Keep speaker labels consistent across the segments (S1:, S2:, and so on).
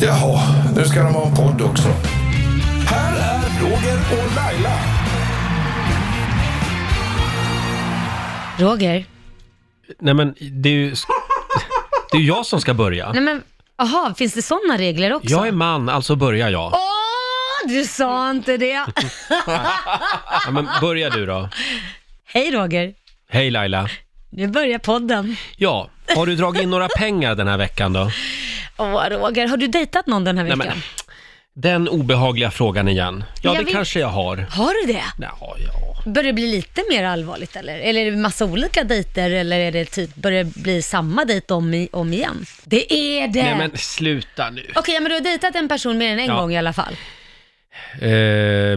S1: Jaha, nu ska de ha en podd också. Här är Roger och Laila.
S2: Roger?
S3: Nej men det är ju det är ju jag som ska börja.
S2: Nej men, aha, finns det sådana regler också?
S3: Jag är man, alltså börjar jag.
S2: Åh, du sa inte det!
S3: Ja, men börja du då.
S2: Hej Roger,
S3: Hej Laila.
S2: nu börjar podden.
S3: Ja, har du dragit in några pengar den här veckan då?
S2: Åh Roger, har du dejtat någon den här
S3: Nej,
S2: veckan?
S3: men, den obehagliga frågan igen. Ja,
S2: Jag
S3: det
S2: vill-
S3: kanske jag har.
S2: Har du det?
S3: Ja, ja.
S2: Börjar det bli lite mer allvarligt eller? Eller är det massa olika dejter eller är det typ, börjar det bli samma dejt om, i- om igen? Det är det!
S3: Nej men sluta nu.
S2: Okej, ja, men du har dejtat en person mer än en
S3: Ja.
S2: gång i alla fall.
S3: Eh,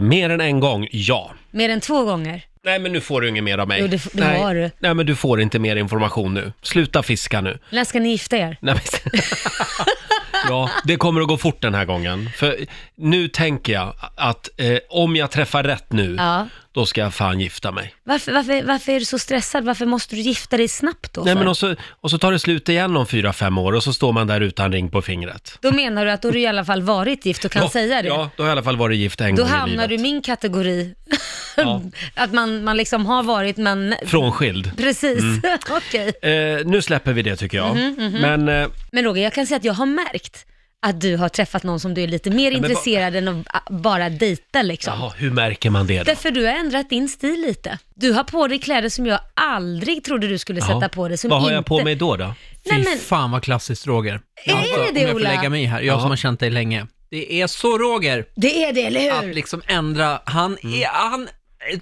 S3: mer än en gång, ja.
S2: Mer än två gånger.
S3: Nej men nu får du inget mer av mig.
S2: Jo, det f- det
S3: Nej.
S2: har du.
S3: Nej men du får inte mer information nu. Sluta fiska nu.
S2: När ska ni gifta er?
S3: Nej, men... ja, det kommer att gå fort den här gången. För nu tänker jag att eh, om jag träffar rätt nu,
S2: Ja.
S3: då ska jag fan gifta mig.
S2: Varför, varför, varför är du så stressad? Varför måste du gifta dig snabbt då?
S3: Nej,
S2: för?
S3: men och, så, och så tar det slut igen om fyra, fem år och så står man där utan ring på fingret.
S2: Då menar du att då har du i alla fall varit gift och kan
S3: Ja,
S2: säga det?
S3: Ja, då har jag i alla fall varit gift en
S2: Då
S3: gång i
S2: hamnar
S3: livet.
S2: du i min kategori.
S3: Ja.
S2: att man, man liksom har varit men...
S3: Frånskild.
S2: Precis,
S3: Mm.
S2: okej.
S3: Eh, nu släpper vi det tycker jag.
S2: Mhm,
S3: Men, eh,
S2: Men Roger, jag kan säga att jag har märkt att du har träffat någon som du är lite mer
S3: men vad-
S2: intresserad än att ah, bara dejta liksom.
S3: jaha, hur märker man det då?
S2: Därför du har ändrat din stil lite. Du har på dig kläder som jag aldrig trodde du skulle sätta
S3: Jaha.
S2: på dig. Som
S3: Vad har
S2: inte...
S3: jag på mig då? då?
S2: Nej,
S4: Fy
S2: men-
S4: fan vad klassiskt Roger. Alltså,
S2: Är det
S4: om
S2: det,
S4: jag får
S2: Ola?
S4: lägga mig här, jag
S3: Ja.
S4: som har känt dig länge. Det är så Roger,
S2: Det är det, eller
S4: att
S2: hur?
S4: liksom ändra, han
S3: Mm.
S4: är, han,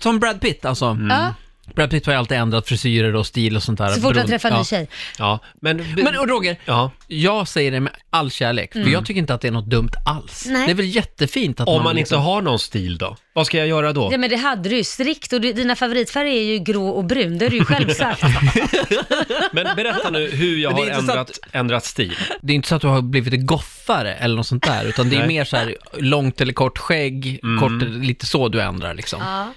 S4: som Brad Pitt alltså.
S2: Ja,
S4: Brad Pitt har ju alltid ändrat frisyrer och stil och sånt där.
S2: så fort jag
S4: Beroende-
S2: träffar en ny
S4: ja.
S2: tjej.
S3: Ja, men...
S4: Men och Roger,
S3: ja.
S4: jag säger det med all kärlek, för jag tycker inte att det är något dumt alls.
S2: Mm. Nej.
S4: Det är väl jättefint att
S3: Om man inte
S4: liksom-
S3: har någon stil då? Vad ska jag göra då?
S2: Ja men det hade du ju strikt och du, dina favoritfärger är ju grå och brun, det har du ju själv sagt.
S3: Men berätta nu hur jag
S4: Men det
S3: har
S4: är intressant-
S3: ändrat, ändrat stil.
S4: Det är inte så att du har blivit goffare eller något sånt där, utan det är
S3: Nej. Mm.
S4: mer så här långt eller kort skägg, kort, lite så du ändrar liksom.
S2: ja.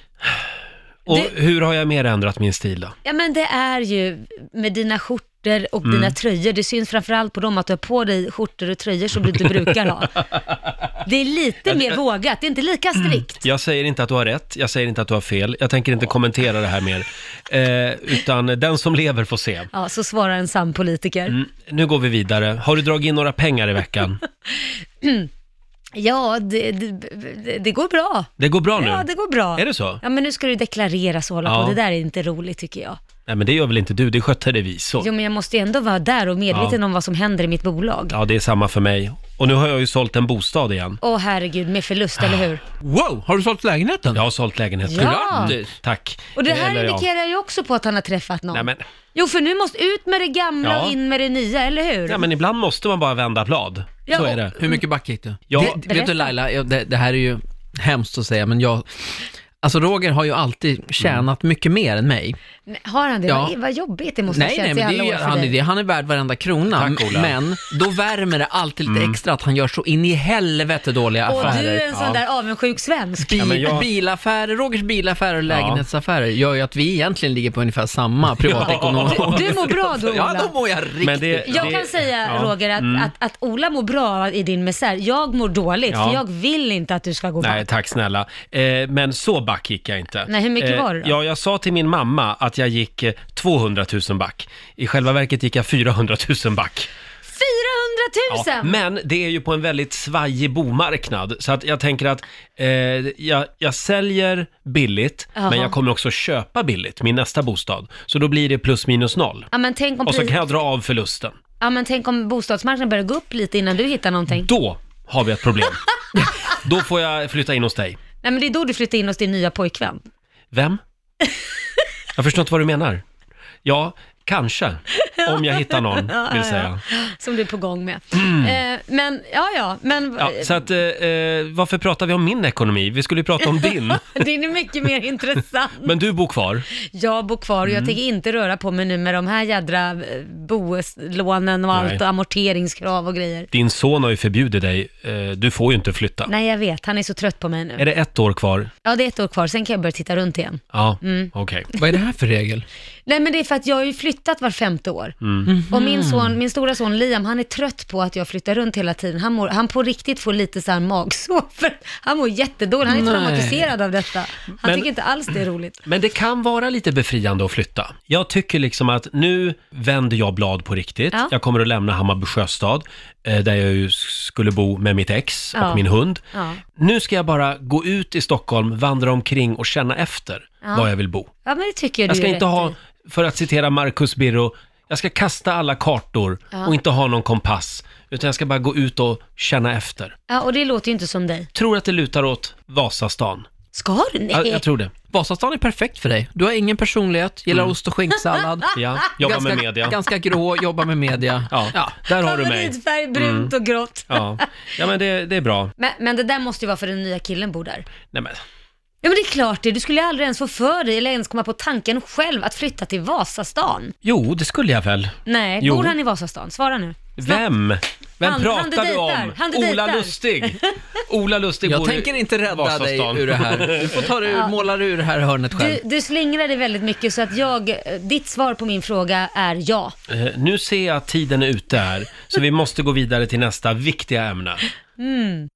S3: Och
S2: Det-
S3: hur har jag mer ändrat min stil då?
S2: ja men det är ju med dina skjortor och dina
S3: Mm.
S2: tröjor, det syns framförallt på dem att du har på dig skjortor och tröjor som du inte brukar ha. Det är lite mer vågat, det är inte lika
S3: Mm.
S2: strikt.
S3: Jag säger inte att du har rätt, jag säger inte att du har fel, jag tänker inte kommentera det här mer. Eh, utan den som lever får se.
S2: Ja, så svarar en sann politiker.
S3: Mm, nu går vi vidare. Har du dragit in några pengar i veckan?
S2: Ja, det, det, det går bra.
S3: Det går bra nu?
S2: Ja, det går bra.
S3: Är det så?
S2: Ja, men nu ska du deklarera så hålla
S3: Ja.
S2: på. Det där är inte roligt tycker jag.
S3: Nej men det gör väl inte du, det sköter dig vi så.
S2: Jo, men jag måste ju ändå vara där och medveten
S3: Ja.
S2: om vad som händer i mitt bolag.
S3: Ja, det är samma för mig. Och nu har jag ju sålt en bostad igen.
S2: Åh herregud, med förlust, eller hur?
S3: Ah,
S4: Wow, har du sålt lägenheten?
S3: Jag har sålt lägenheten.
S2: Ja.
S3: Grattis. Tack!
S2: Och det här
S3: Eller ja.
S2: indikerar ju också på att han har träffat någon.
S3: Nej men,
S2: Jo, för nu måste ut med det gamla
S3: Ja.
S2: och in med det nya, eller hur?
S3: ja, men ibland måste man bara vända blad.
S2: Ja,
S3: Så
S2: och-
S3: är det.
S4: Hur mycket back gick du?
S3: Ja.
S4: Det- det, vet
S2: Berätta.
S4: du Laila, jag- det, det här är ju hemskt att säga, men jag... Alltså Roger har ju alltid tjänat mycket mer än mig.
S2: Nej, Har han det?
S4: Ja.
S2: Vad, vad jobbigt det måste ha
S4: Nej, nej,
S2: känts i
S4: men det
S2: alla
S4: är
S2: år
S4: ju,
S2: för
S4: han, är
S2: dig.
S4: det. han är värd varenda krona.
S3: Tack, Ola.
S4: Men då värmer det alltid lite extra att han gör så in i helvete dåliga
S2: Och
S4: affärer.
S2: du är en sån där avundsjuk svensk.
S4: Bil,
S3: men jag-
S4: Bilaffärer, Rogers bilaffärer och lägenhetsaffärer gör ju att vi egentligen ligger på ungefär samma privatekonomiska...
S2: Du mår bra då,
S4: Ja,
S2: Ola.
S4: då mår jag riktigt
S3: Men det-
S2: Jag kan säga,
S3: ja. Mm.
S2: Roger, att, att, att Ola mår bra i din misär. Jag mår dåligt,
S3: Ja.
S2: för jag vill inte att du ska gå
S3: Nej,
S2: back.
S3: tack snälla. Eh, men så back gick jag inte. Eh,
S2: Nej, hur mycket var det då?
S3: Ja, jag sa till min mamma att jag gick eh, 200 000 back. I själva verket gick jag 400 000 back.
S2: 400
S3: Ja,
S2: 000!
S3: men det är ju på en väldigt svajig bomarknad, så att jag tänker att eh, jag, jag säljer billigt,
S2: Jaha.
S3: men jag kommer också köpa billigt, min nästa bostad. Så då blir det plus minus noll.
S2: Ja, men tänk om,
S3: Och så
S2: pris-
S3: kan jag dra av förlusten.
S2: ja, men tänk om bostadsmarknaden börjar gå upp lite innan du hittar någonting.
S3: Då har vi ett problem. då får jag flytta in hos dig.
S2: Nej, men det är då du flyttar in hos din nya pojkvän.
S3: Vem? Jag förstår inte vad du menar. Ja, kanske. Om jag hittar någon, vill säga. Mm.
S2: som du är på gång med. Eh, men, ja ja, men
S3: Ja, så att, eh, eh, varför pratar vi om min ekonomi? Vi skulle ju prata om din.
S2: din är mycket mer intressant.
S3: Men du bor kvar.
S2: Jag bor kvar och
S3: Mm.
S2: jag tänker inte röra på mig nu med de här jädra eh, boeslånen och allt
S3: Nej.
S2: och amorteringskrav och grejer.
S3: Din son har ju förbjudit dig. Eh, du får ju inte flytta.
S2: Nej jag vet, han är så trött på mig nu.
S3: Är det ett år kvar?
S2: Ja det är ett år kvar, sen kan jag börja titta runt igen.
S3: Ja, okej.
S4: Vad är det här för regel?
S2: Nej men det är för att jag har ju flyttat var femte år. år.
S3: Mm.
S2: Och min son, min stora son Liam, han är trött på att jag flyttar runt hela tiden. Han, mår, han på riktigt får lite så här magsår, för han mår jättedåligt. Han är
S4: Nej.
S2: traumatiserad av detta. Han
S3: Men-
S2: tycker inte alls det är roligt.
S3: Men det kan vara lite befriande att flytta. Jag tycker liksom att nu vänder jag blad på riktigt.
S2: Ja.
S3: Jag kommer att lämna Hammarby sjöstad, eh, där jag ju skulle bo med mitt ex och
S2: Ja.
S3: min hund.
S2: Ja.
S3: Nu ska jag bara gå ut i Stockholm, vandra omkring och känna efter
S2: Ja.
S3: var jag vill bo.
S2: Ja, men det tycker jag du
S3: Jag ska
S2: gör
S3: inte
S2: rätt
S3: ha,
S2: i.
S3: för att citera Marcus Birro, jag ska kasta alla kartor
S2: Ja.
S3: och inte ha någon kompass, utan jag ska bara gå ut och känna efter.
S2: Ja, och det låter ju inte som dig.
S3: Tror att det lutar åt Vasastan.
S2: Ska du?
S3: Jag,
S2: Nej.
S3: jag tror det.
S4: Vasastan är perfekt för dig. Du har ingen personlighet, gillar ost och skinksallad.
S3: Mm. Ja, jobba med
S4: Ganska-
S3: media.
S4: Ganska grå, jobba med media.
S3: Ja, där har du mig. Mm.
S2: Favoritfärg, brunt och grått.
S3: Ja, ja men det, det är bra.
S2: Men, men det där måste ju vara för den nya killen bor där.
S3: Nej, men,
S2: Ja men det är klart det, du skulle ju aldrig ens få för dig eller ens komma på tanken själv att flytta till Vasastan.
S3: jo, det skulle jag väl.
S2: Nej,
S3: Jo.
S2: bor han i Vasastan? Svara nu.
S3: Vem? Vem
S2: Han-
S3: pratar
S2: han du
S3: du
S2: dejtar,
S3: om?
S2: han du
S3: Ola
S2: dejtar.
S3: Lustig. Ola Lustig
S4: Jag
S3: bor i
S4: tänker inte rädda
S3: Vasastan.
S4: dig ur det här. Du får ta dig ur, måla dig ur det här hörnet själv.
S2: Du, du slingrar dig väldigt mycket så att jag, eh, ditt svar på min fråga är ja.
S3: Eh, Nu ser jag att tiden är ute här, så vi måste gå vidare till nästa viktiga ämne.
S2: Mm.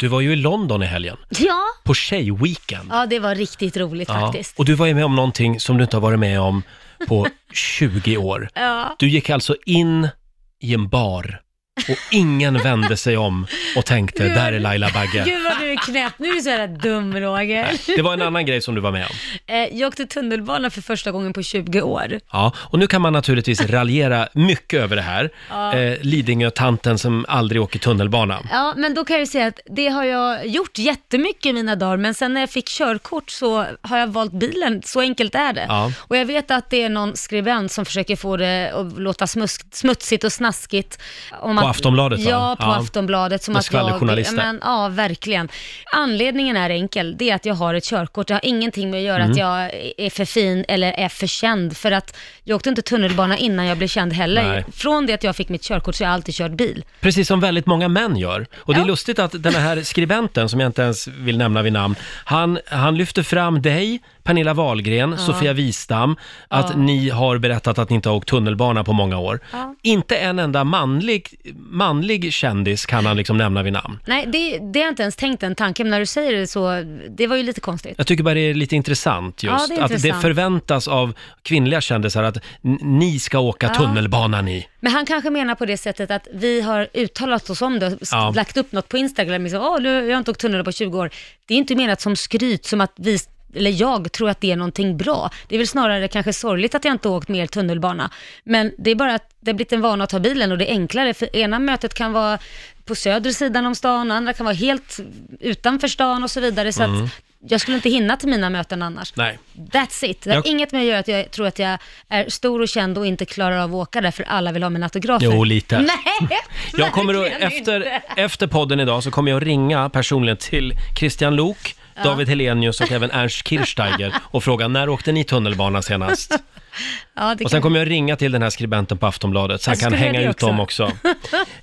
S3: Du var ju i London i helgen,
S2: Ja,
S3: på tjejweekend.
S2: ja det var riktigt roligt faktiskt.
S3: Och du var ju med om någonting som du inte har varit med om på 20 år.
S2: Ja.
S3: Du gick alltså in i en bar och ingen vände sig om och tänkte, där är Laila Bagge.
S2: Gud vad du är knäpp, nu är du så jävla dum Roger.
S3: Det var en annan grej som du var med om.
S2: Eh, jag åkte tunnelbana för första gången på 20 år.
S3: Ja, och nu kan man naturligtvis raljera mycket över det här. Eh, Lidingö-tanten som aldrig åker tunnelbana.
S2: Ja, men då kan jag ju säga att det har jag gjort jättemycket i mina dagar, men sen när jag fick körkort så har jag valt bilen, så enkelt är det.
S3: Ja.
S2: Och jag vet att det är någon skribent som försöker få det att låta smusk, smutsigt och snaskigt. Om
S3: På Aftonbladet, va?
S2: Ja, på
S3: Ja.
S2: Aftonbladet. Som
S3: Med
S2: att jag,
S3: skvallerjournalister.
S2: men, ja, verkligen. Anledningen är enkel, det är att jag har ett körkort. Det har ingenting med att
S3: Mm.
S2: göra att jag är för fin eller är för känd, för att jag åkte inte tunnelbana innan jag blev känd heller.
S3: Nej.
S2: Från det att jag fick mitt körkort så har jag alltid kört bil.
S3: Precis som väldigt många män gör. Och det är
S2: Ja.
S3: lustigt att den här skribenten, som jag inte ens vill nämna vid namn, han, han lyfter fram dig, Pernilla Wahlgren, Sofia Wistam, att ni har berättat att ni inte har åkt tunnelbana på många år. Inte en enda manlig, manlig kändis kan han liksom nämna vid namn.
S2: Nej, det, det har jag inte ens tänkt den tanken, men när du säger det så, det var ju lite konstigt.
S3: Jag tycker bara det är lite intressant just,
S2: Ja, det är
S3: att det
S2: intressant.
S3: förväntas av kvinnliga kändisar att n- ni ska åka tunnelbana ni.
S2: Men han kanske menar på det sättet att vi har uttalat oss om det, sk-
S3: Ja.
S2: lagt upp något på Instagram, liksom, Åh, nu, jag har inte åkt tunnelbana på 20 år. Det är inte menat som skryt, som att vi, eller jag tror att det är någonting bra. Det är väl snarare kanske sorgligt att jag inte har åkt mer tunnelbana, men det är bara att det har blivit en vana att ta bilen och det är enklare, för ena mötet kan vara på söder sidan om stan, andra kan vara helt utanför stan och så vidare, så att jag skulle inte hinna till mina möten annars.
S3: Nej.
S2: That's it. Det har
S3: Jag-
S2: inget med att göra att jag tror att jag är stor och känd och inte klarar av att åka därför alla vill ha min autograf.
S3: Jo, lite.
S2: Nej,
S3: Jag kommer att,
S2: verkligen
S3: efter,
S2: inte.
S3: efter podden idag så kommer jag att ringa personligen till Christian Lok, David Helenius och även Ernst Kirchsteiger och fråga när åkte ni tunnelbana senast?
S2: Ja, det
S3: Och sen
S2: kan...
S3: kommer jag ringa till den här skribenten på Aftonbladet så han
S2: Jag
S3: kan
S2: skulle
S3: hänga
S2: göra det
S3: ut dem också.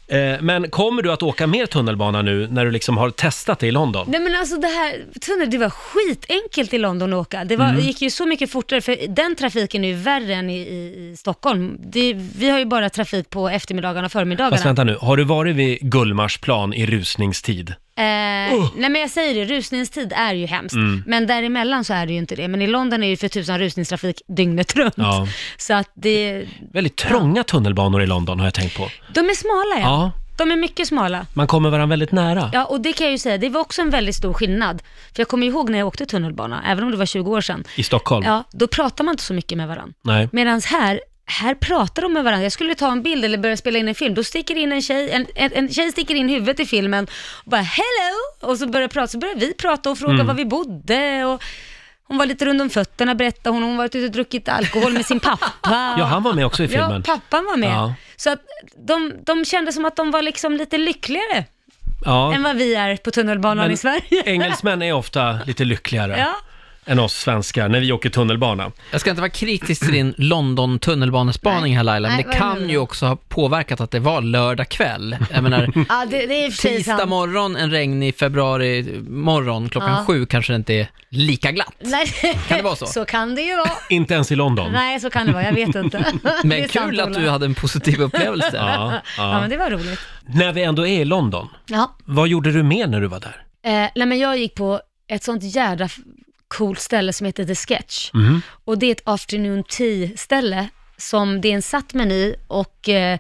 S3: Eh, Men kommer du att åka mer tunnelbana nu när du liksom har testat det i London?
S2: Nej men alltså det här, tunnel, det var skitenkelt i London att åka. Det var,
S3: Mm.
S2: gick ju så mycket fortare, för den trafiken är ju värre än i, i Stockholm. Det, vi har ju bara trafik på eftermiddagarna och förmiddagarna.
S3: Fast vänta nu, har du varit vid Gullmarsplan i rusningstid?
S2: Eh,
S3: Oh.
S2: Nej men jag säger det, rusningstid är ju hemskt.
S3: Mm.
S2: Men däremellan så är det ju inte det. Men i London är ju för tusan rusningstrafik dygnet runt.
S3: Ja.
S2: Så att det,
S3: Väldigt trånga tunnelbanor i London har jag tänkt på.
S2: De är smala ja.
S3: Ja,
S2: De är mycket smala.
S3: man kommer varandra väldigt nära.
S2: Ja, och det kan jag ju säga, det var också en väldigt stor skillnad. För jag kommer ihåg när jag åkte tunnelbana, även om det var 20 år sedan.
S3: I Stockholm?
S2: Ja, då pratar man inte så mycket med varandra.
S3: Nej.
S2: Medan här, här pratar de med varandra. Jag skulle ta en bild eller börja spela in en film, då sticker in en tjej, en, en, en tjej sticker in huvudet i filmen och bara hello! Och så börjar, prata, så börjar vi prata och fråga
S3: Mm.
S2: var vi bodde och hon var lite runt om fötterna berättade hon, hon varit ute och druckit alkohol med sin pappa.
S3: Ja, han var med också i
S2: Ja,
S3: filmen.
S2: pappan var med.
S3: Ja.
S2: Så att de, de kände som att de var liksom lite lyckligare
S3: Ja.
S2: än vad vi är på tunnelbanan
S3: Men
S2: i Sverige.
S3: Engelsmän är ofta lite lyckligare.
S2: Ja.
S3: än oss svenskar när vi åker tunnelbana.
S4: Jag ska inte vara kritisk till din London tunnelbanespaning här Laila, men
S2: Nej,
S4: det
S2: vad är det
S4: kan
S2: nu
S4: ju
S2: då?
S4: också ha påverkat att det var lördag kväll. Jag menar,
S2: Ja, det, det är i och för sig
S4: tisdag
S2: sant.
S4: morgon, en regnig februari morgon klockan
S2: Ja.
S4: sju kanske det inte är lika glatt.
S2: Nej,
S4: Kan det vara så?
S2: Så kan det ju vara.
S3: Inte ens i London.
S2: Nej, så kan det vara. Jag vet inte. Det är
S4: Men
S2: sant,
S4: kul att
S2: Ola.
S4: du hade en positiv upplevelse.
S3: Ja,
S2: Ja,
S3: ja.
S2: men det var roligt.
S3: När vi ändå är i London,
S2: Ja.
S3: vad gjorde du mer när du var där?
S2: Eh, nej, men jag gick på ett sånt jädra f- coolt ställe som heter The Sketch.
S4: Mhm.
S2: Och det är ett afternoon tea-ställe som det är en satt meny och eh,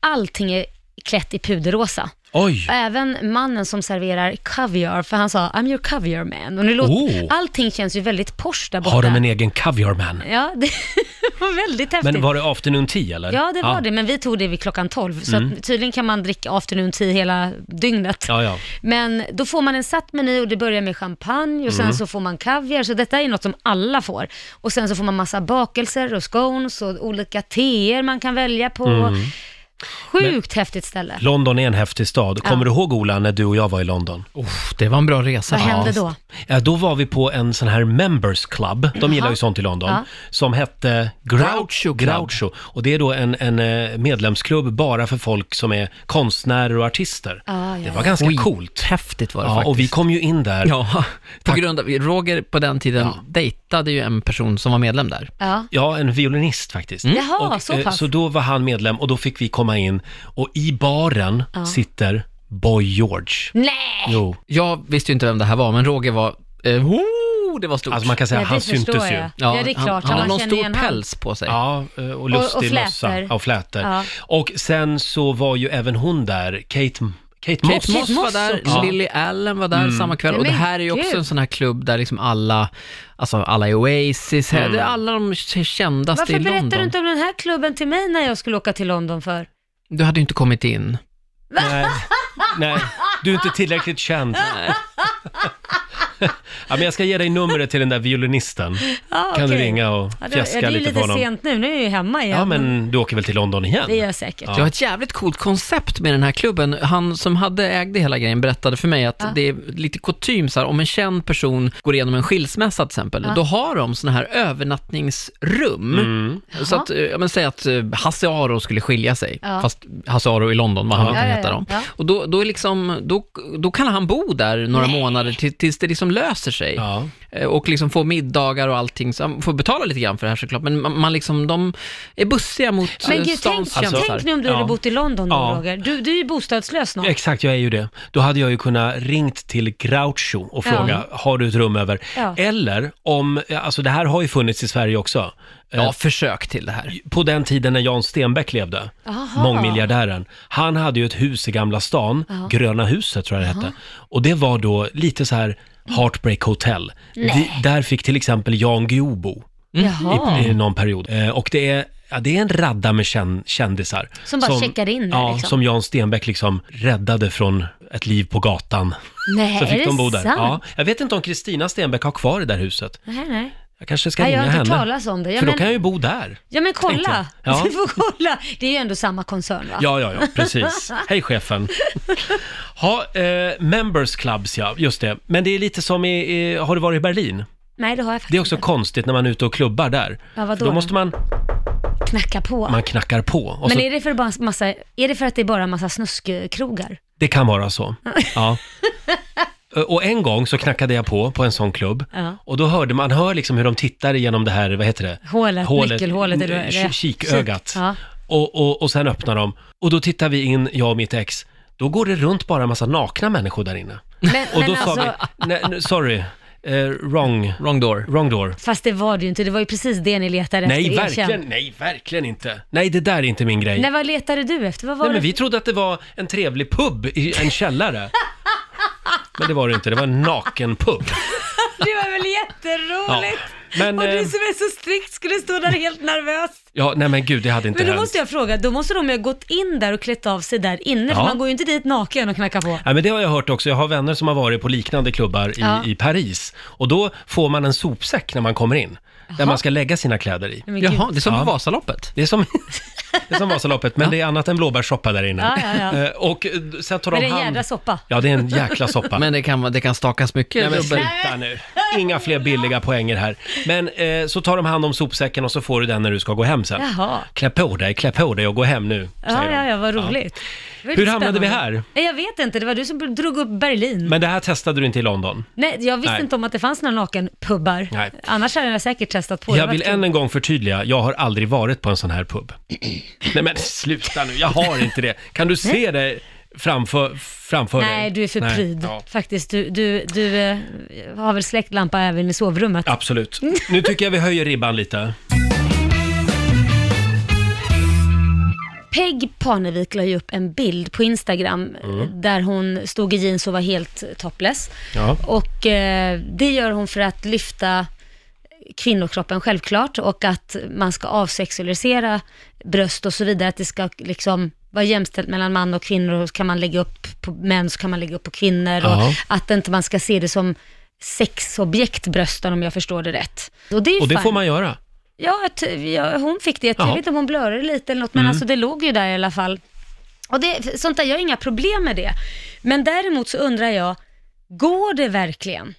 S2: allting är klätt i puderrosa.
S3: Oj!
S2: Och även mannen som serverar kaviar, för han sa I'm your caviar man. Och nu låter,
S3: Oh.
S2: Allting känns ju väldigt posh där borta.
S3: Har de en egen caviar man?
S2: Ja, det var väldigt häftigt.
S3: Men var det afternoon tea eller?
S2: Ja, det var det, men vi tog det vid klockan 12, så att tydligen kan man dricka afternoon tea hela dygnet.
S3: Mm. Ja, ja.
S2: Men då får man en satt meny och det börjar med champagne och
S3: Mm.
S2: sen så får man kaviar, så detta är något som alla får. Och sen så får man massa bakelser och scones och olika teer man kan välja på.
S3: Mm.
S2: Sjukt häftigt ställe.
S3: London är en häftig stad. Kommer du ihåg Ola, när du och jag var i London?
S4: Uff, det var en bra resa.
S2: Vad hände då?
S3: Ja, Eh, då var vi på en sån här members club, de gillar ju
S2: Jaha.
S3: sånt i London,
S2: Ja.
S3: som hette Groucho,
S4: Groucho Club.
S3: Groucho. Och det är då en, en eh, medlemsklubb bara för folk som är konstnärer och artister.
S2: Ah, Ja, ja,
S3: Det var
S2: ja.
S3: ganska
S4: Oj,
S3: coolt.
S4: Häftigt var det
S3: Ja,
S4: faktiskt.
S3: och vi kom ju in där. Ja.
S4: Ja, på grund av, Roger på den tiden dejtade ju en person som var medlem där.
S2: Ja.
S3: en violinist faktiskt.
S2: Mm. Jaha,
S3: och,
S2: så
S3: eh,
S2: pass.
S3: så då var han medlem och då fick vi komma in och i baren sitter Boy George.
S2: Mm. Nej!
S3: Jo,
S4: Jag visste ju inte vem det här var, men Roger var, eh, oh, det var stort.
S3: alltså man kan säga
S2: Ja,
S3: han
S2: det förstår
S3: syntes ju.
S2: jag. Ja, det är klart.
S4: Han, han har
S2: man
S4: någon
S2: känner
S4: stor
S2: igen han.
S4: päls på sig.
S3: Ja, eh, och lustig
S2: Och- och
S3: mössa.
S2: flätor.
S3: Ja, Och flätor.
S2: Ja.
S3: Och sen så var ju även hon där, Kate, Kate Moss.
S4: Kate Typ Moss Mm. var
S2: Moss
S4: där,
S2: också.
S4: Lily Allen var där samma kväll.
S2: Nej,
S4: Och det
S2: men
S4: här är ju också
S2: gud.
S4: en sån här klubb där liksom alla, alltså alla i Oasis, här, det är alla de k- kändaste
S2: Varför
S4: i London.
S2: berättar
S4: Du,
S2: du inte om den här klubben till mig när jag skulle åka till London för?
S4: hade ju inte kommit in.
S3: Nej, nej, du är inte tillräckligt känd. ja, men jag ska ge dig numret till den där violinisten.
S2: Ja,
S3: Kan du
S2: okej.
S3: ringa och
S2: Ja, det, ja,
S3: fjäska
S2: det är ju
S3: lite på
S2: lite
S3: honom?
S2: sent nu, nu är jag ju hemma igen.
S3: Ja, men du åker väl till London igen?
S2: Det gör jag säkert.
S4: Det var ett jävligt coolt koncept med den här klubben. Han som hade ägde hela grejen berättade för mig att det är lite kutym så här, om en känd person går igenom en skilsmässa till exempel, då har de såna här övernattningsrum. Så att, eh, ja, men säg att eh, Hasse Aro skulle skilja sig,
S2: Ja.
S4: fast Hasse Aro i London, vad han nu
S2: Ja,
S4: kan
S2: ja,
S4: heta
S2: ja.
S4: dem.
S2: Ja.
S4: Och då, då, är liksom, då, då kan han bo där några månader till, tills det liksom löser sig.
S3: Ja.
S4: Eh, Och liksom få middagar och allting, så han får betala lite grann för det här såklart, men man, man liksom, de är bussiga mot
S2: Men
S4: eh,
S2: gud, tänk,
S4: stans
S2: tänk nu om du
S3: alltså- Ja.
S2: hade bott i London då,
S3: Ja.
S2: Roger. Du, du är ju bostadslös snart.
S3: Exakt, jag är ju det. Då hade jag ju kunnat ringt till Groucho och
S2: Ja.
S3: fråga, har du ett rum över?
S2: Ja.
S3: Eller om, alltså det här har ju funnits i Sverige också. Eh,
S4: Ja, försök till det här.
S3: på den tiden när Jan Stenbeck levde,
S2: Aha.
S3: mångmiljardären, han hade ju ett hus i Gamla stan, Gröna huset tror jag det hette. Och det var då lite så här Heartbreak Hotel. Vi, där fick till exempel Jan Guillou bo
S2: Jaha.
S3: i någon period. Eh, och det är, ja, det är en radda med känn, kändisar.
S2: Som bara checkar in där,
S3: Ja,
S2: liksom.
S3: som Jan Stenbeck liksom räddade från ett liv på gatan.
S2: Nej,
S3: Så fick
S2: är
S3: de
S2: det
S3: bo där.
S2: sant?
S3: Ja, jag vet inte om Kristina Stenbeck har kvar det där huset.
S2: Nej, nej.
S3: Jag kanske ska
S2: nej. Jag
S3: ringa
S2: har inte
S3: henne.
S2: hört talas om det. Ja,
S3: För då
S2: men,
S3: kan jag ju bo där.
S2: ja, men
S3: tänkte
S2: kolla.
S3: jag. Ja.
S2: Du får kolla. Det är ju ändå samma koncern, va?
S3: Ja, ja, ja, precis. Hej chefen. Ha, eh, members clubs, ja, just det. Men det är lite som i, i, har du varit i Berlin?
S2: Nej, det har jag faktiskt
S3: Det är också
S2: inte.
S3: konstigt när man är ute och klubbar där.
S2: Ja, vadå
S3: För då
S2: då?
S3: måste man,
S2: Knacka på.
S3: man alltså- knackar på. Och
S2: men
S3: så,
S2: är det, för bara massa, är det för att det är bara massa snuskkrogar?
S3: Det kan vara så. Ja. Ö, Och en gång så knackade jag på, på en sån klubb.
S2: Ja.
S3: Och då hörde man, hör liksom hur de tittar genom det här, vad heter det?
S2: Hålet, nyckelhålet, eller vad
S3: n-
S2: är det?
S3: ki- Kikögat.
S2: Kik, ja.
S3: Och, och, och sen öppnar de. Och då tittar vi in, jag och mitt ex. Då går det runt bara en massa nakna människor där inne.
S2: Men,
S3: Och då
S2: men
S3: sa
S2: alltså,
S3: vi, nej, nej, sorry, eh, wrong,
S4: Wrong door.
S3: wrong door.
S2: fast det var det ju inte. Det var ju precis det ni letade
S3: Nej,
S2: efter. erkänn.
S3: verkligen, nej, verkligen inte. Nej, det där är inte min grej.
S2: Nej,
S3: Nej,
S2: vad letade du efter? Vad var
S3: men
S2: det?
S3: vi trodde att det var en trevlig pub i en källare. Men det var det inte, det var en naken pub.
S2: Det var väl jätteroligt?
S3: Men,
S2: Och
S3: eh,
S2: du som är så strikt skulle stå där helt nervös.
S3: ja, nej men gud, det hade inte
S2: Men då
S3: hänt.
S2: måste jag fråga, då måste de ju ha gått in där och klätt av sig där inne,
S3: Ja.
S2: för man går ju inte dit naken och knackar på.
S3: Nej, men det har jag hört också. Jag har vänner som har varit på liknande klubbar i,
S2: Ja.
S3: i Paris. Och då får man en sopsäck när man kommer in, där man ska lägga sina kläder i.
S2: Men gud.
S4: Jaha, det är som
S3: Ja.
S4: på Vasaloppet.
S3: Det är som... det är som Vasaloppet, men det är annat än blåbärssoppa där inne.
S2: Ja, ja, ja.
S3: Eh, Och eh, sen tar
S2: Men
S3: de
S2: det är en
S3: hand...
S2: jädra soppa.
S3: Ja, det är en jäkla soppa.
S4: Men det kan, det kan stakas mycket
S3: Nej, men
S4: dubbel.
S3: sluta nu. Inga fler billiga poänger här. Men eh, så tar de hand om sopsäcken och så får du den när du ska gå hem sen.
S2: Jaha.
S3: Klä på dig, klä på dig och gå hem nu,
S2: Ja,
S3: säger de.
S2: ja, ja, vad roligt. Det var
S3: Hur
S2: lite
S3: hamnade vi
S2: spännande.
S3: här?
S2: Nej, Jag vet inte, det var du som drog upp Berlin.
S3: Men det här testade du inte i London.
S2: Nej, jag visste
S3: Nej.
S2: inte om att det fanns några nakenpubbar.
S3: Nej.
S2: Annars hade jag säkert testat på. Det
S3: Jag
S2: hade
S3: vill
S2: varit kul.
S3: än en gång förtydliga, jag har aldrig varit på en sån här pub. Nej men sluta nu, jag har inte det. Kan du se det framför, framför dig?
S2: Nej, du är för pryd.
S3: Ja.
S2: Faktiskt, du, du, du eh, har väl släckt lampa även i sovrummet?
S3: Absolut. Nu tycker jag vi höjer ribban lite.
S2: Peg Parnevik la ju upp en bild på Instagram
S3: Mm.
S2: eh, där hon stod i jeans och var helt topless.
S3: Ja.
S2: Och eh, det gör hon för att lyfta kvinnokroppen självklart och att man ska avsexualisera bröst och så vidare, att det ska liksom vara jämställt mellan man och kvinnor och kan man lägga upp på män så kan man lägga upp på kvinnor
S3: Ja.
S2: och att inte man ska se det som sexobjekt brösten om jag förstår det rätt. Och det, är ju
S3: Och det
S2: fine.
S3: får man göra.
S2: Ja, jag ty- ja, hon fick det. Jag
S3: Jaha.
S2: vet inte om hon blödde lite eller något, men alltså det låg ju där i alla fall. Och det, sånt där, jag har inga problem med det. Men däremot så undrar jag, går det verkligen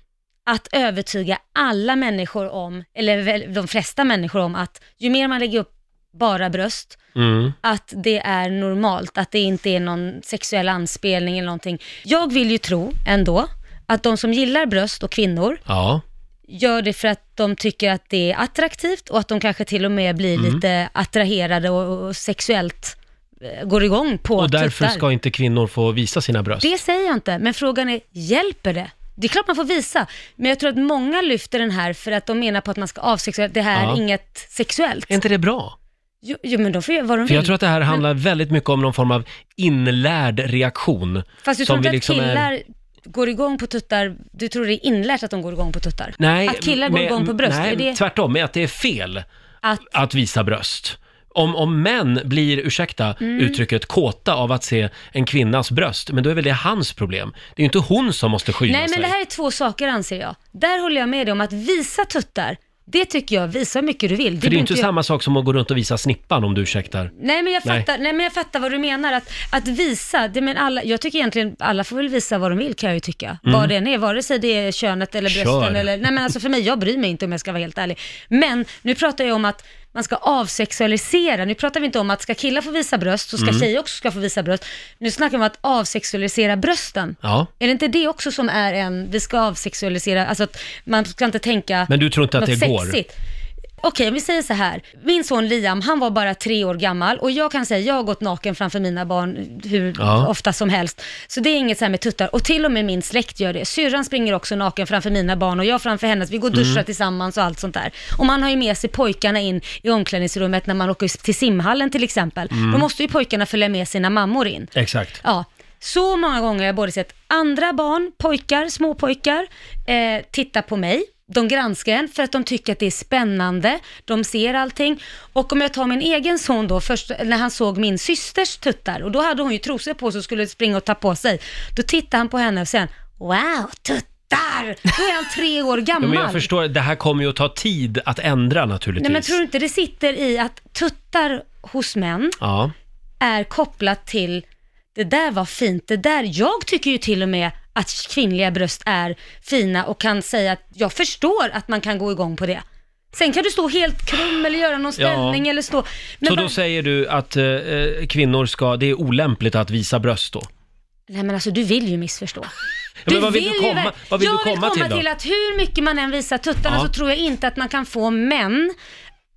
S2: att övertyga alla människor om, eller väl de flesta människor om att ju mer man lägger upp bara bröst,
S3: Mm.
S2: att det är normalt, att det inte är någon sexuell anspelning eller någonting. Jag vill ju tro ändå att de som gillar bröst och kvinnor
S3: Ja.
S2: gör det för att de tycker att det är attraktivt och att de kanske till och med blir
S3: Mm.
S2: lite attraherade och, och sexuellt eh, går igång på
S3: Och därför
S2: tuttar.
S3: ska inte kvinnor få visa sina bröst.
S2: Det säger jag inte, men frågan är, hjälper det? Det är klart man får visa, men jag tror att många lyfter den här för att de menar på att man ska avsexualisera, det här
S3: Ja.
S2: är inget sexuellt.
S3: Är inte det bra?
S2: Jo, jo, men de får göra vad de
S3: För
S2: vill.
S3: jag tror att det här handlar väldigt mycket om någon form av inlärd reaktion.
S2: Fast du tror
S3: som
S2: inte
S3: vi liksom
S2: att
S3: är-
S2: killar går igång på tuttar, du tror det är inlärt att de går igång på tuttar?
S3: Nej,
S2: att killar går
S3: men-
S2: igång på bröst,
S3: Nej,
S2: är det
S3: tvärtom. Men att det är fel
S2: att
S3: att visa bröst. Om, om män blir, ursäkta
S2: Mm.
S3: uttrycket, kåta av att se en kvinnas bröst, men då är väl det hans problem. Det är ju inte hon som måste skyla
S2: Nej, men
S3: sig.
S2: det här är två saker anser jag. Där håller jag med dig om att visa tuttar, det tycker jag, visa hur mycket du vill.
S3: För det är
S2: behöver
S3: ju inte
S2: jag-
S3: samma sak som att gå runt och visa snippan om du ursäktar.
S2: Nej men, jag
S3: Nej.
S2: fattar, nej. men jag fattar vad du menar. Att, att visa, det men alla, jag tycker egentligen alla får väl visa vad de vill kan jag ju tycka. Vad det än är, vare sig det är könet eller brösten
S3: Mm. Kör.
S2: eller... Nej men alltså för mig, jag bryr mig inte om jag ska vara helt ärlig. Men nu pratar jag om att man ska avsexualisera. Nu pratar vi inte om att ska killar få visa bröst så ska
S3: Mm.
S2: tjejer också ska få visa bröst. Nu snackar vi om att avsexualisera brösten.
S3: Ja,
S2: Är det inte det också som är en, vi ska avsexualisera, alltså att man ska inte tänka
S3: men du tror inte att det
S2: något
S3: går?
S2: sexigt. Okej, om vi säger så här. Min son Liam, han var bara tre år gammal och jag kan säga, jag har gått naken framför mina barn hur
S3: Ja.
S2: ofta som helst. Så det är inget så här med tuttar. Och till och med min släkt gör det. Syrran springer också naken framför mina barn och jag framför hennes. Vi går och duschar tillsammans och allt sånt där. Och man har ju med sig pojkarna in i omklädningsrummet när man åker till simhallen till exempel. Då måste ju pojkarna följa med sina mammor in.
S3: Exakt.
S2: Ja, så många gånger har jag både sett andra barn, pojkar, småpojkar, eh, titta på mig. De granskar en för att de tycker att det är spännande, de ser allting. Och om jag tar min egen son då, först när han såg min systers tuttar, och då hade hon ju trosor på sig och skulle springa och ta på sig. Då tittade han på henne och sen, wow, tuttar! Då är han tre år
S3: Ja,
S2: gammal.
S3: men jag förstår, det här kommer ju att ta tid att ändra naturligtvis.
S2: Nej men tror du inte det sitter i att tuttar hos män
S3: Ja.
S2: är kopplat till det där var fint, det där, jag tycker ju till och med att kvinnliga bröst är fina och kan säga att jag förstår att man kan gå igång på det. Sen kan du stå helt krum eller göra någon ställning eller stå... Men
S3: Så
S2: bara,
S3: då säger du att eh, eh, kvinnor ska, det är olämpligt att visa bröst då?
S2: Nej men alltså du vill ju missförstå.
S3: Ja, men vad vill du
S2: ju
S3: komma-
S2: väl-
S3: vad vill
S2: jag
S3: du komma
S2: vill
S3: till
S2: komma
S3: då?
S2: till, att hur mycket man än visar tuttarna
S3: Ja.
S2: så tror jag inte att man kan få män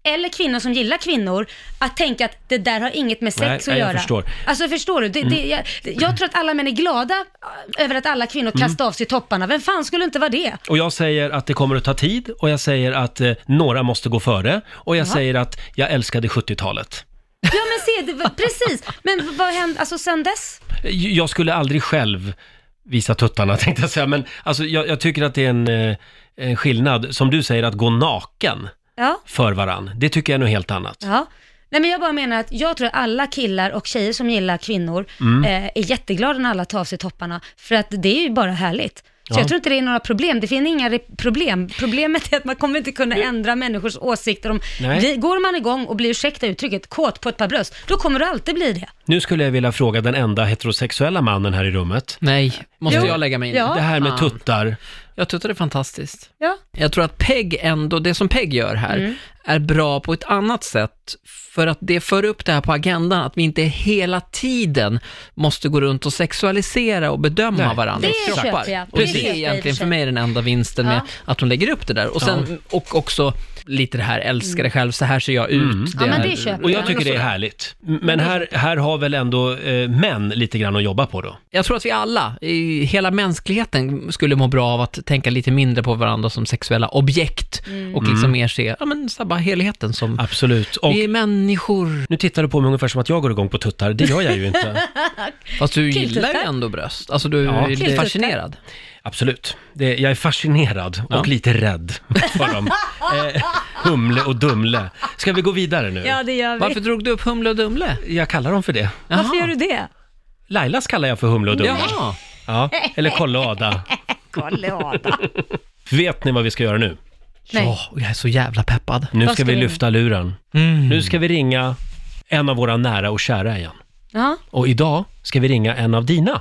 S2: eller kvinnor som gillar kvinnor att tänka att det där har inget med sex
S3: Nej,
S2: att
S3: nej, jag
S2: göra.
S3: förstår. Mm.
S2: Alltså förstår du? Det, det, jag, jag tror att alla män är glada äh, över att alla kvinnor
S3: Mm.
S2: kastar av sig topparna. Vem fan skulle inte vara det?
S3: Och jag säger att det kommer att ta tid och jag säger att eh, några måste gå före och jag säger att jag älskade 70-talet.
S2: Ja men se, det, var- precis. Men v- vad hände, alltså sen dess?
S3: Eh, Jag skulle aldrig själv visa tuttarna tänkte jag säga, men alltså, jag, jag tycker att det är en, eh, en skillnad, som du säger, att gå naken
S2: Ja.
S3: för varann. Det tycker jag är något helt annat.
S2: Ja. Nej men jag bara menar att jag tror att alla killar och tjejer
S3: Mm.
S2: som gillar kvinnor eh, är jätteglada när alla tar av sig topparna. För att det är ju bara härligt. Så jag tror inte det är några problem. Det finns inga re- problem. Problemet är att man kommer inte kunna ändra människors åsikter. Om,
S3: Nej.
S2: blir, går man igång och blir, ursäkta uttrycket, kåt på ett par bröst, då kommer du alltid bli det.
S3: Nu skulle jag vilja fråga den enda heterosexuella mannen här i rummet.
S4: Nej, måste
S2: Jo.
S4: jag lägga mig in
S2: Ja.
S3: Det här med
S4: Fan.
S3: tuttar.
S4: Jag tyckte det är fantastiskt.
S2: Ja.
S4: Jag tror att Peg ändå, det som Peg gör här,
S2: Mm.
S4: är bra på ett annat sätt. För att det för upp det här på agendan, att vi inte hela tiden måste gå runt och sexualisera och bedöma
S3: Nej.
S4: varandra.
S2: Det
S4: och
S2: köper
S4: kroppar.
S2: jag.
S4: Och
S2: Det
S4: det
S2: köper
S4: är
S2: jag i och
S4: egentligen
S2: för
S4: för mig den enda vinsten med
S2: Ja.
S4: att hon lägger upp det där. Och, sen, och också lite det här, älska dig själv, så här ser jag
S3: Mm.
S4: ut.
S2: Ja, men
S4: här-
S2: det köper Alltså,
S3: Och jag tycker det är härligt. Men här, här har väl ändå eh, män lite grann att jobba på då?
S4: Jag tror att vi alla, i hela mänskligheten, skulle må bra av att tänka lite mindre på varandra som sexuella objekt
S2: Mm.
S4: och liksom mer se, ja men så här bara helheten som,
S3: Absolut. Och
S4: vi är människor.
S3: nu tittar du på mig ungefär som att jag går igång på tuttar. Det gör jag ju inte.
S4: Fast du
S2: Killtuttar.
S4: gillar ju ändå bröst, alltså du
S3: Ja.
S4: är lite
S2: Killtuttar.
S4: fascinerad.
S3: Absolut. Det, jag är fascinerad och
S4: Ja.
S3: lite rädd för dem. Eh, humle och Dumle. Ska vi gå vidare nu?
S2: Ja, det gör vi.
S4: Varför drog du upp Humle och Dumle?
S3: Jag kallar dem för det.
S2: Varför
S4: Jaha.
S2: gör du det?
S3: Lailas kallar jag för Humle och Dumle.
S4: Jaha.
S3: Ja. Eller Kolle och Ada.
S2: Kolla
S3: Vet ni vad vi ska göra nu?
S2: Nej.
S4: Ja, och jag är så jävla peppad.
S3: Nu
S2: Vad
S3: ska
S2: ska
S3: vi
S2: vi Mm.
S3: lyfta luren. Nu ska vi ringa en av våra nära och kära igen.
S2: Ja.
S3: Och idag ska vi ringa en av dina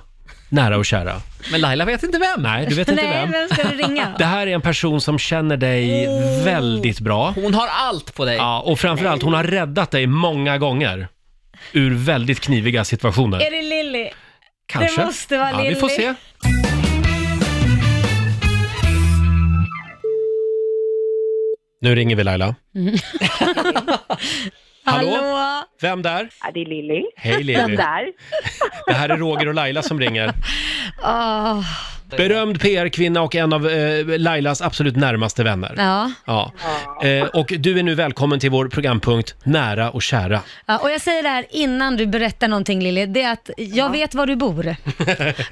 S3: nära och kära.
S4: Men Laila vet inte vem.
S3: Nej, du vet inte
S2: Nej,
S3: vem.
S2: vem ska du ringa?
S3: Det här är en person som känner dig väldigt bra.
S4: Hon har allt på dig.
S3: Ja, och framförallt, hon har räddat dig många gånger ur väldigt kniviga situationer.
S2: Är det Lilly?
S3: Kanske.
S2: måste vara
S3: ja, vi får
S2: Lilly.
S3: se. Nu ringer vi Laila.
S2: Mm.
S3: Hallå? Vem där?
S5: Ja, det är Lilly.
S3: Hej
S5: Den
S3: Lilly.
S5: där.
S3: Det här är Roger och Laila som ringer.
S2: Ah,
S3: Berömd PR-kvinna och en av eh, Lailas absolut närmaste vänner.
S2: ja.
S3: Ja. Eh, och du är nu välkommen till vår programpunkt Nära och kära.
S2: Ja, och jag säger det här innan du berättar någonting Lilly, det är att jag vet var du bor.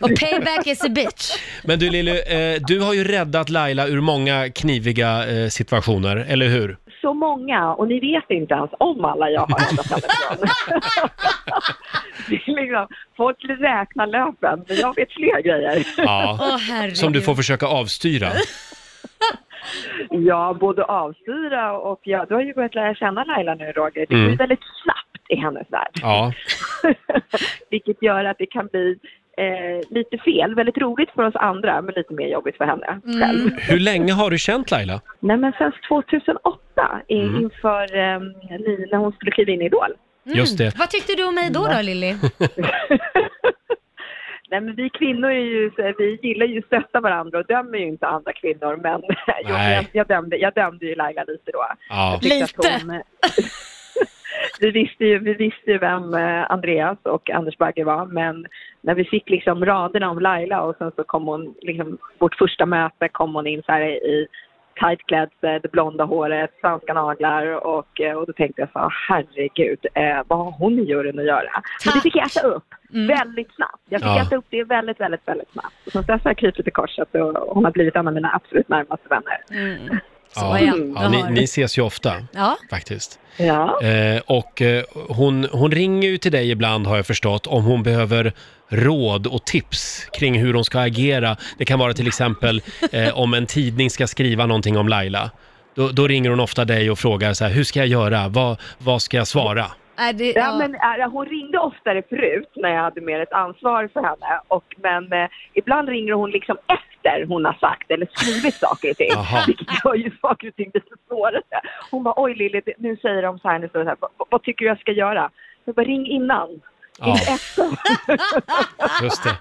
S2: Och payback is a bitch.
S3: Men du Lilly, eh, du har ju räddat Laila ur många kniviga eh, situationer, eller hur?
S5: Så många och ni vet inte ens om alla jag har ända fram ifrån. Det är liksom, folk räknar löpen, men jag vet fler grejer.
S3: Ja.
S2: Åh herregud.
S3: Som du får försöka avstyra.
S5: Ja, både avstyra och jag, du har ju börjat lära känna Laila nu Roger. Det går ju
S3: Mm.
S5: väldigt snabbt i hennes värld.
S3: Ja.
S5: Vilket gör att det kan bli eh, lite fel. Väldigt roligt för oss andra, men lite mer jobbigt för henne själv.
S3: Hur länge har du känt Laila?
S5: Nej, men sen 2008 i- inför eh, när hon skulle kliva in i Idol.
S3: Just det.
S2: Mm. Vad tyckte du om mig då då Lilly?
S5: Nej, men vi kvinnor är ju, så- vi gillar ju att stötta varandra och dömer ju inte andra kvinnor. Men jag, jag,
S3: Nej.
S5: jag, dömde, jag dömde ju Laila lite då.
S3: Ja.
S5: Jag tyckte att
S2: Lite.
S5: hon- vi, visste ju, vi visste ju vem eh, Andreas och Anders Bagge var, men när vi fick liksom raderna om Laila och sen så kom hon, liksom, vårt första möte kom hon in så här i tight klädsel, det blonda håret, svenska naglar och, eh, och då tänkte jag så här, herregud, eh, vad har hon i juryn att göra? Men det
S2: Tack.
S5: fick jag äta upp väldigt snabbt. Jag fick
S3: Ja.
S5: äta upp det väldigt, väldigt, väldigt snabbt. Och sen dess har jag krupit i korset och hon har blivit en av mina absolut närmaste vänner.
S2: Mm. Så
S3: Ja.
S2: ja,
S3: ja
S2: jag
S3: ni,
S2: har.
S3: ni ses ju ofta,
S2: Ja,
S3: faktiskt.
S5: Ja.
S3: Eh, och eh, hon, hon ringer ju till dig ibland, har jag förstått, om hon behöver råd och tips kring hur hon ska agera. Det kan vara till exempel eh, om en tidning ska skriva någonting om Laila. Då, då ringer hon ofta dig och frågar så här, hur ska jag göra? Vad, vad ska jag svara?
S2: Är det,
S5: Ja,
S2: ja.
S5: men, äh, hon ringde oftare förut när jag hade mer ett ansvar för henne. Och, men eh, ibland ringer hon liksom efter hon har sagt eller skrivit saker och ting.
S3: Jaha.
S5: Vilket gör ju saker och ting lite svårare. Hon bara, oj Lilly, det- nu säger de så här, nu står det så här vad, vad tycker du jag ska göra? Jag bara, ring innan.
S3: Ja, just det.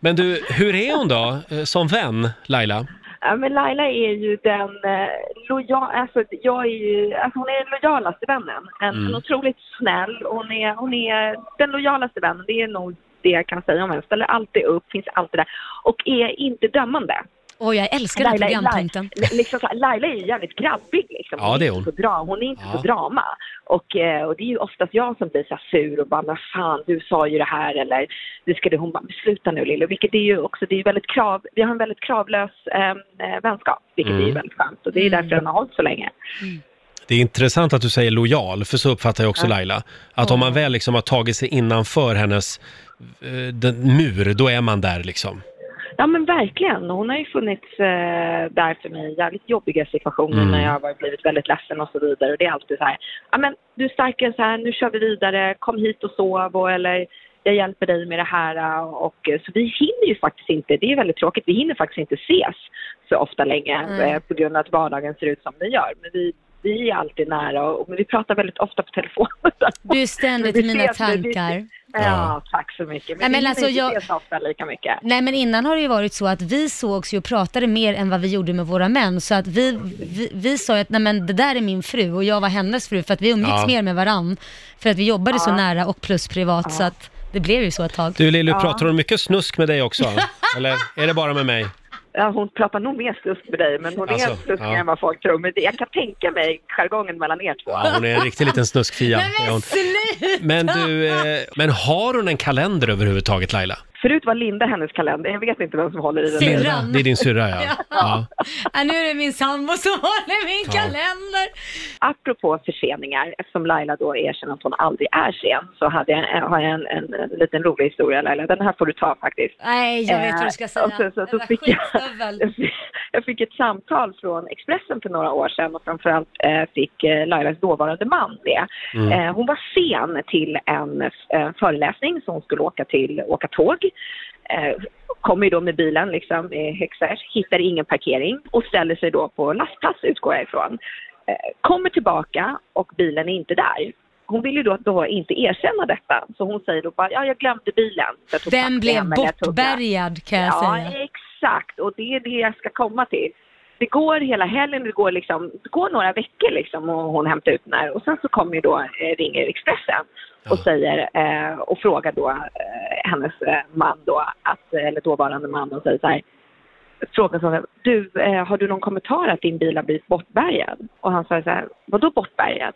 S3: Men du, hur är hon då, eh, som vän, Laila?
S5: Ja, men Laila är ju den eh, lojal, alltså, jag är ju, alltså, hon är den lojalaste vännen. En, en otroligt snäll. Hon är, hon är den lojalaste vännen. Det är nog det jag kan säga om henne. Ställer alltid upp, finns alltid där. Och är inte dömande.
S2: Åh, jag älskar den här
S5: är-
S2: programpunkten.
S5: Laila, liksom, så här, Laila är ju jävligt grabbig liksom.
S3: Ja, det är hon.
S5: inte på dra, hon är inte
S3: Ja.
S5: på drama. Och, eh, och det är ju oftast jag som blir så här sur och bara, men fan du sa ju det här eller det ska du, hon bara, "Men sluta nu Lille. Vilket är ju också, det är ju väldigt krav, vi har en väldigt kravlös eh, eh, vänskap. Vilket
S3: Mm.
S5: är ju väldigt skönt och det är därför
S2: Mm.
S5: den har hållit så länge.
S3: Det är intressant att du säger lojal, för så uppfattar jag också Laila. Att om man väl liksom har tagit sig innanför hennes eh, den mur, då är man där liksom.
S5: Ja men verkligen. Hon har ju funnits eh, där för mig i jävligt jobbiga situationer
S3: Mm.
S5: när jag har varit- blivit väldigt ledsen och så vidare. Och det är alltid så här, ja men du är starkare än så här, nu kör vi vidare, kom hit och sov och eller jag hjälper dig med det här. eh, Och, eh, så vi hinner ju faktiskt inte, det är väldigt tråkigt, vi hinner faktiskt inte ses så ofta längre
S2: Mm.
S5: eh, på grund av att vardagen ser ut som den gör. Men vi, vi är alltid nära och men vi pratar väldigt ofta på telefon.
S2: Du är ständigt i
S5: Vi
S2: mina
S5: ses, men vi-
S2: tankar.
S5: Ja,
S3: Ja.
S5: tack så mycket. Men,
S2: Nej, men
S5: vi hinner
S2: alltså
S5: inte
S2: jag-
S5: ses ofta lika mycket.
S2: Nej men innan har det ju varit så att vi sågs ju och pratade mer än vad vi gjorde med våra män. Så att vi, vi, vi sa ju att nej men det där är min fru och jag var hennes fru för att vi umgicks
S3: Ja.
S2: mer med varann. För att vi jobbade så nära och plus privat så att det blev ju så ett tag.
S3: Du Lilly, pratar hon mycket snusk med dig också? Eller är det bara med mig?
S5: Ja, hon pratar nog mer slusk med dig, men hon
S3: Alltså,
S5: är sluskigare
S3: ja.
S5: än vad folk tror. Men det, jag kan tänka mig jargongen mellan er två.
S3: Ja, hon är en riktig liten snuskfia.
S2: Nej,
S3: är
S2: men
S3: hon.
S2: sluta!
S3: Men du, eh, men har hon en kalender överhuvudtaget Laila?
S5: Förut var Linda hennes kalender. Jag vet inte vem som håller i den. nu.
S2: Syrran.
S3: Det är din syrra ja. ja.
S2: Ja, nu är det min sambo som håller min kalender.
S5: Apropå förseningar, eftersom Laila då erkänner att hon aldrig är sen, så hade jag, har jag en, en, en liten rolig historia Laila. Den här får du ta faktiskt.
S2: Nej, jag vet vad du ska
S5: Eh,
S2: säga.
S5: och sen så,
S2: Den
S5: så
S2: där
S5: fick jag,
S2: skitstövel.
S5: jag fick- jag fick ett samtal från Expressen för några år sedan och framförallt eh, fick eh, Lailas dåvarande man det. Eh, hon var sen till en eh, föreläsning som hon skulle åka till, åka tåg. Eh, kommer ju då med bilen liksom i Högsfärs, hittar ingen parkering och ställer sig då på lastplats utgår jag ifrån. Eh, kommer tillbaka och bilen är inte där. Hon vill ju då, då inte erkänna detta så hon säger då bara ja jag glömde bilen. Så jag tog
S2: Den
S5: taxi
S2: blev
S5: hem, eller jag tog den.
S2: bortbärgad kan jag
S5: Ja,
S2: säga.
S5: exakt. Och det är det jag ska komma till. Det går hela helgen, det går, liksom, det går några veckor liksom och hon hämtar ut den här. Och sen så kommer ju då, eh, ringer Expressen och säger eh, och frågar då eh, hennes eh, man då, att, eller dåvarande man, och säger så här. Frågar så här, du, eh, har du någon kommentar att din bil har blivit bortbärgad? Och han säger så här, vadå bortbärgad?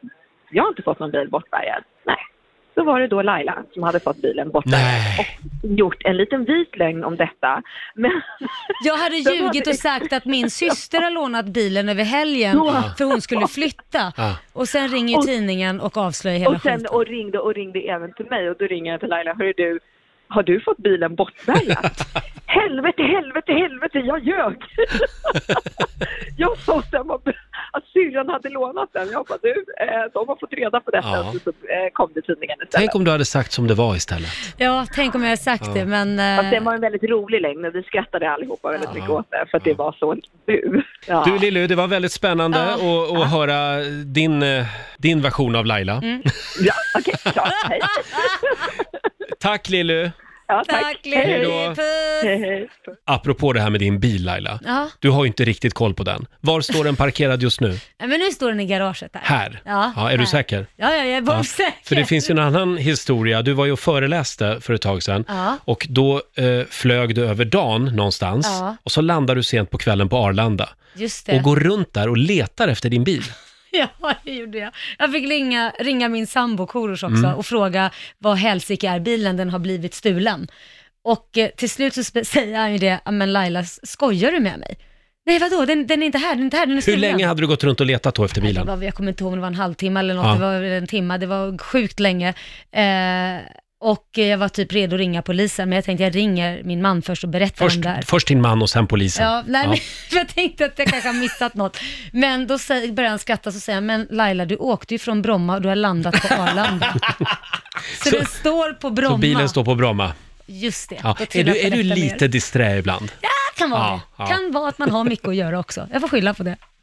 S5: Jag har inte fått någon bil bortbärgad. Nej. Så var det då Laila som hade fått bilen bortbärgad
S3: Nej.
S5: och gjort en liten vit lögn om detta. Men
S2: Jag hade
S5: Så var
S2: ljugit
S5: det-
S2: och sagt att min syster har lånat bilen över helgen
S5: Ja.
S2: för hon skulle flytta.
S3: Ja.
S2: Och sen ringer ju
S5: Och-
S2: tidningen och avslöjar hela
S5: och sen
S2: skiten.
S5: och ringde och ringde även till mig och då ringer jag till Laila, hörru du, har du fått bilen bortbärgad? helvete, helvete, helvete, jag ljög! jag sa att, den var, att syrran hade lånat den. Jag bara, du, eh, de har fått reda på detta.
S3: Ja.
S5: Så, så eh, kom det tidningen istället.
S3: Tänk om du hade sagt som det var istället.
S2: Ja, tänk om jag hade sagt det men... eh,
S5: Fast den var en väldigt rolig lögn och vi skrattade allihopa väldigt mycket åt det för att det var så du. Ja.
S3: Du Lilly, det var väldigt spännande
S2: Ja. Mm.
S3: att att höra din, eh, din version av Laila.
S5: ja, okej, klart. Hej.
S3: Tack Lilly!
S5: Ja, tack.
S2: Tack
S3: Hej
S2: Lili,
S3: då.
S2: puss!
S5: Hej, hej.
S3: Apropå det här med din bil Laila.
S2: Ja,
S3: Du har ju inte riktigt koll på den. Var står den parkerad just nu?
S2: Nej, men nu står den i garaget här.
S3: Här?
S2: Ja,
S3: är du
S2: här.
S3: säker?
S2: Ja, ja, jag är
S3: Ja,
S2: bombsäker.
S3: För det finns ju en annan historia. Du var ju och föreläste för ett tag sedan
S2: Ja.
S3: och då eh, flög du över dagen någonstans
S2: Ja.
S3: och så landar du sent på kvällen på Arlanda
S2: Just det.
S3: och går runt där och letar efter din bil.
S2: Ja, det gjorde jag. Jag fick ringa, ringa min sambo Korosh också
S3: Mm.
S2: och fråga vad helsike är bilen, den har blivit stulen. Och eh, till slut så spe- säger han ju det, "Ja, men Laila, s- skojar du med mig? Nej vadå, den, den är inte här, den är inte här, den är
S3: Hur
S2: stulen.
S3: länge hade du gått runt och letat då efter
S2: det
S3: bilen?
S2: var, jag kommer inte ihåg om det var en halvtimme eller något,
S3: Ja.
S2: det var en timme, det var sjukt länge. Eh, och eh, jag var typ redo att ringa polisen, men jag tänkte jag ringer min man först och berättar om
S3: Först,
S2: det här.
S3: först din man och sen polisen.
S2: Ja, nej,
S3: Ja.
S2: men jag tänkte att jag kanske har missat något. Men då säger, börjar han skratta så säger han, men Laila du åkte ju från Bromma och du har landat på Arlanda. så, den står på Bromma.
S3: Så bilen står på Bromma.
S2: Just det.
S3: Ja.
S2: Då
S3: Är
S2: trillar
S3: du, är du
S2: polletten ner.
S3: lite disträ ibland?
S2: Ja, Ah, kan vara
S3: Ja,
S2: det.
S3: ja.
S2: Kan vara att man har mycket att göra också. Jag får skylla på det.